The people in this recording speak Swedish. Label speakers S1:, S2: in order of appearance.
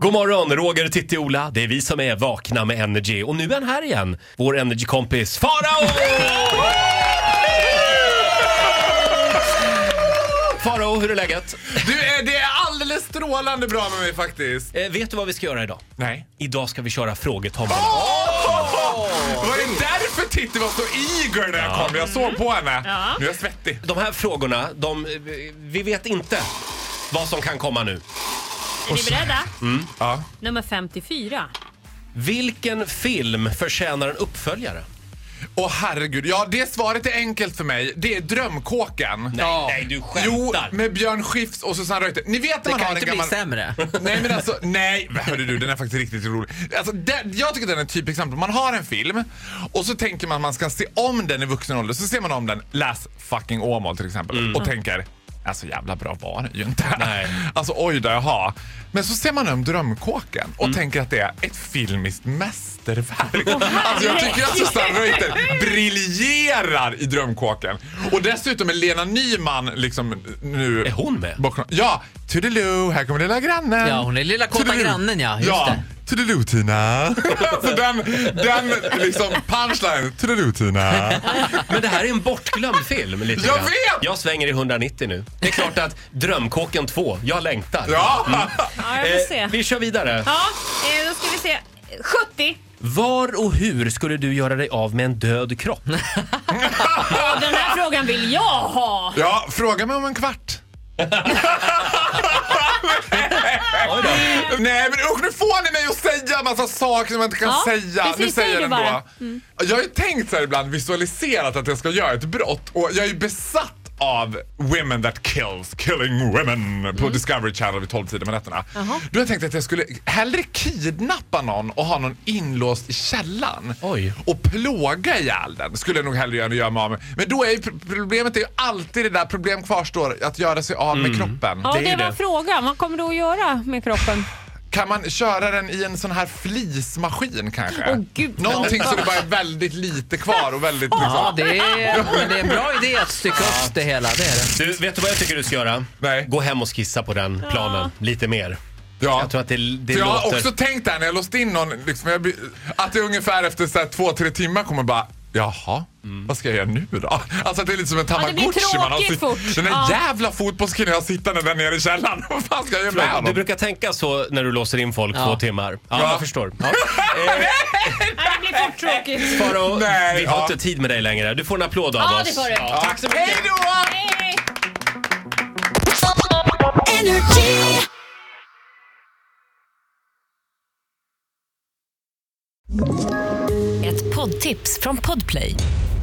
S1: God morgon, Roger, Titti, Ola. Det är vi som är vakna med Energy. Och nu är han här igen, vår Energy-kompis Farao! Farao, hur är läget?
S2: Du, eh, det är alldeles strålande bra med mig faktiskt.
S1: Eh, vet du vad vi ska göra idag?
S2: Nej.
S1: Idag ska vi köra frågetombolan.
S2: Var det därför Titti var så eager när jag kom? Jag såg på henne. Nu är jag svettig.
S1: De här frågorna, de, eh, vi vet inte vad som kan komma nu.
S3: Är ni beredda?
S2: Ja.
S3: Nummer 54.
S1: Vilken film förtjänar en uppföljare?
S2: Åh herregud, ja det svaret är enkelt för mig. Det är Drömkåken.
S1: Nej, nej, du skämtar.
S2: Jo, med Björn Skifs och Susanne Reuter. Ni vet när
S4: Det
S2: man
S4: kan
S2: har en
S4: inte bli
S2: gammal...
S4: sämre.
S2: Nej men alltså, nej. Hörru du, den är faktiskt riktigt rolig. Alltså, den, jag tycker den är ett typexempel. Man har en film och så tänker man att man ska se om den i vuxen ålder. Så ser man om den, läs fucking Åmål till exempel, och tänker Alltså jävla bra var det ju inte.
S1: Mm. Nej.
S2: Alltså oj då, jaha. Men så ser man om Drömkåken och
S1: Mm.
S2: tänker att det är ett filmiskt mästerverk. alltså jag tycker att Susanne Reuter briljerar i Drömkåken. Och dessutom är Lena Nyman liksom nu...
S1: Är hon med?
S2: Bakom, ja, Toodiloo, här kommer lilla grannen.
S4: Ja, hon är lilla kåta
S2: Toodiloo.
S4: grannen, ja, just
S2: ja.
S4: det.
S2: Toodiloo Tina. Så den, den liksom punchline, Toodiloo Tina.
S1: Men det här är en bortglömd film. Lite
S2: Jag
S1: grann.
S2: vet!
S1: Jag svänger i 190 nu. Det är klart att Drömkåken 2, jag längtar.
S2: Ja.
S4: Mm.
S3: Ja, jag får se.
S1: Eh, vi kör vidare.
S3: Ja, eh, då ska vi se. 70.
S1: Var och hur skulle du göra dig av med en död kropp?
S3: Ja, den här frågan vill jag ha!
S2: ja, fråga mig om en kvart.
S1: Oj då.
S2: Nej men usch, nu får ni mig att säga massa saker som jag inte kan
S3: Ja,
S2: säga.
S3: precis,
S2: nu säger
S3: säg
S2: jag
S3: det
S2: den
S3: bara. Mm.
S2: då. Jag har ju tänkt så här ibland, visualiserat att jag ska göra ett brott och jag är ju besatt av Women That Kills, Killing Women
S3: Mm.
S2: på Discovery Channel vid 12-tiden på nätterna. Då har jag tänkt att jag skulle hellre kidnappa någon och ha någon inlåst i källaren
S1: Oj.
S2: och plåga ihjäl den. Skulle jag nog hellre göra än att göra mig av med. Men då är ju pr- problemet är ju alltid det där problem kvarstår, att göra sig av med kroppen.
S3: Mm. Ja,
S1: Det är
S3: det,
S1: ju
S3: var
S1: det.
S3: frågan. Vad kommer du att göra med kroppen?
S2: Kan man köra den i en sån här flismaskin kanske?
S3: Åh, gud.
S2: Någonting så det bara är väldigt lite kvar och väldigt
S4: Ja,
S2: liksom...
S4: det är, men det är en bra idé att stycka upp det hela. Det är det.
S1: Du, vet du vad jag tycker du ska göra?
S2: Nej.
S1: Gå hem och skissa på den planen lite mer.
S2: Ja.
S1: Jag tror att det, det
S2: För jag har
S1: låter...
S2: också tänkt där när jag låst in någon, liksom, jag, blir- att det ungefär efter så här, två, tre timmar kommer bara Jaha, vad ska jag göra nu då? Alltså att det är lite som en
S3: Mm. det blir
S2: tamagotchi man har
S3: tråkigt
S2: sitt-
S3: fort.
S2: Den där
S3: Ja.
S2: jävla fotbollskillen jag har sittande där nere i källaren. Vad fan ska jag göra med
S1: Du
S2: honom?
S1: brukar tänka så när du låser in folk
S4: Ja.
S1: två timmar. Ja,
S2: Ja.
S1: jag förstår. Ja.
S3: Nej, det blir fort tråkigt.
S1: Faro,
S2: Nej,
S1: vi har
S2: ja.
S1: inte tid med dig längre. Du får en applåd av
S3: Ja,
S1: oss.
S3: det får du.
S1: Ja, tack så mycket.
S2: Hej då!
S3: Hej!
S5: Ett poddtips från Podplay.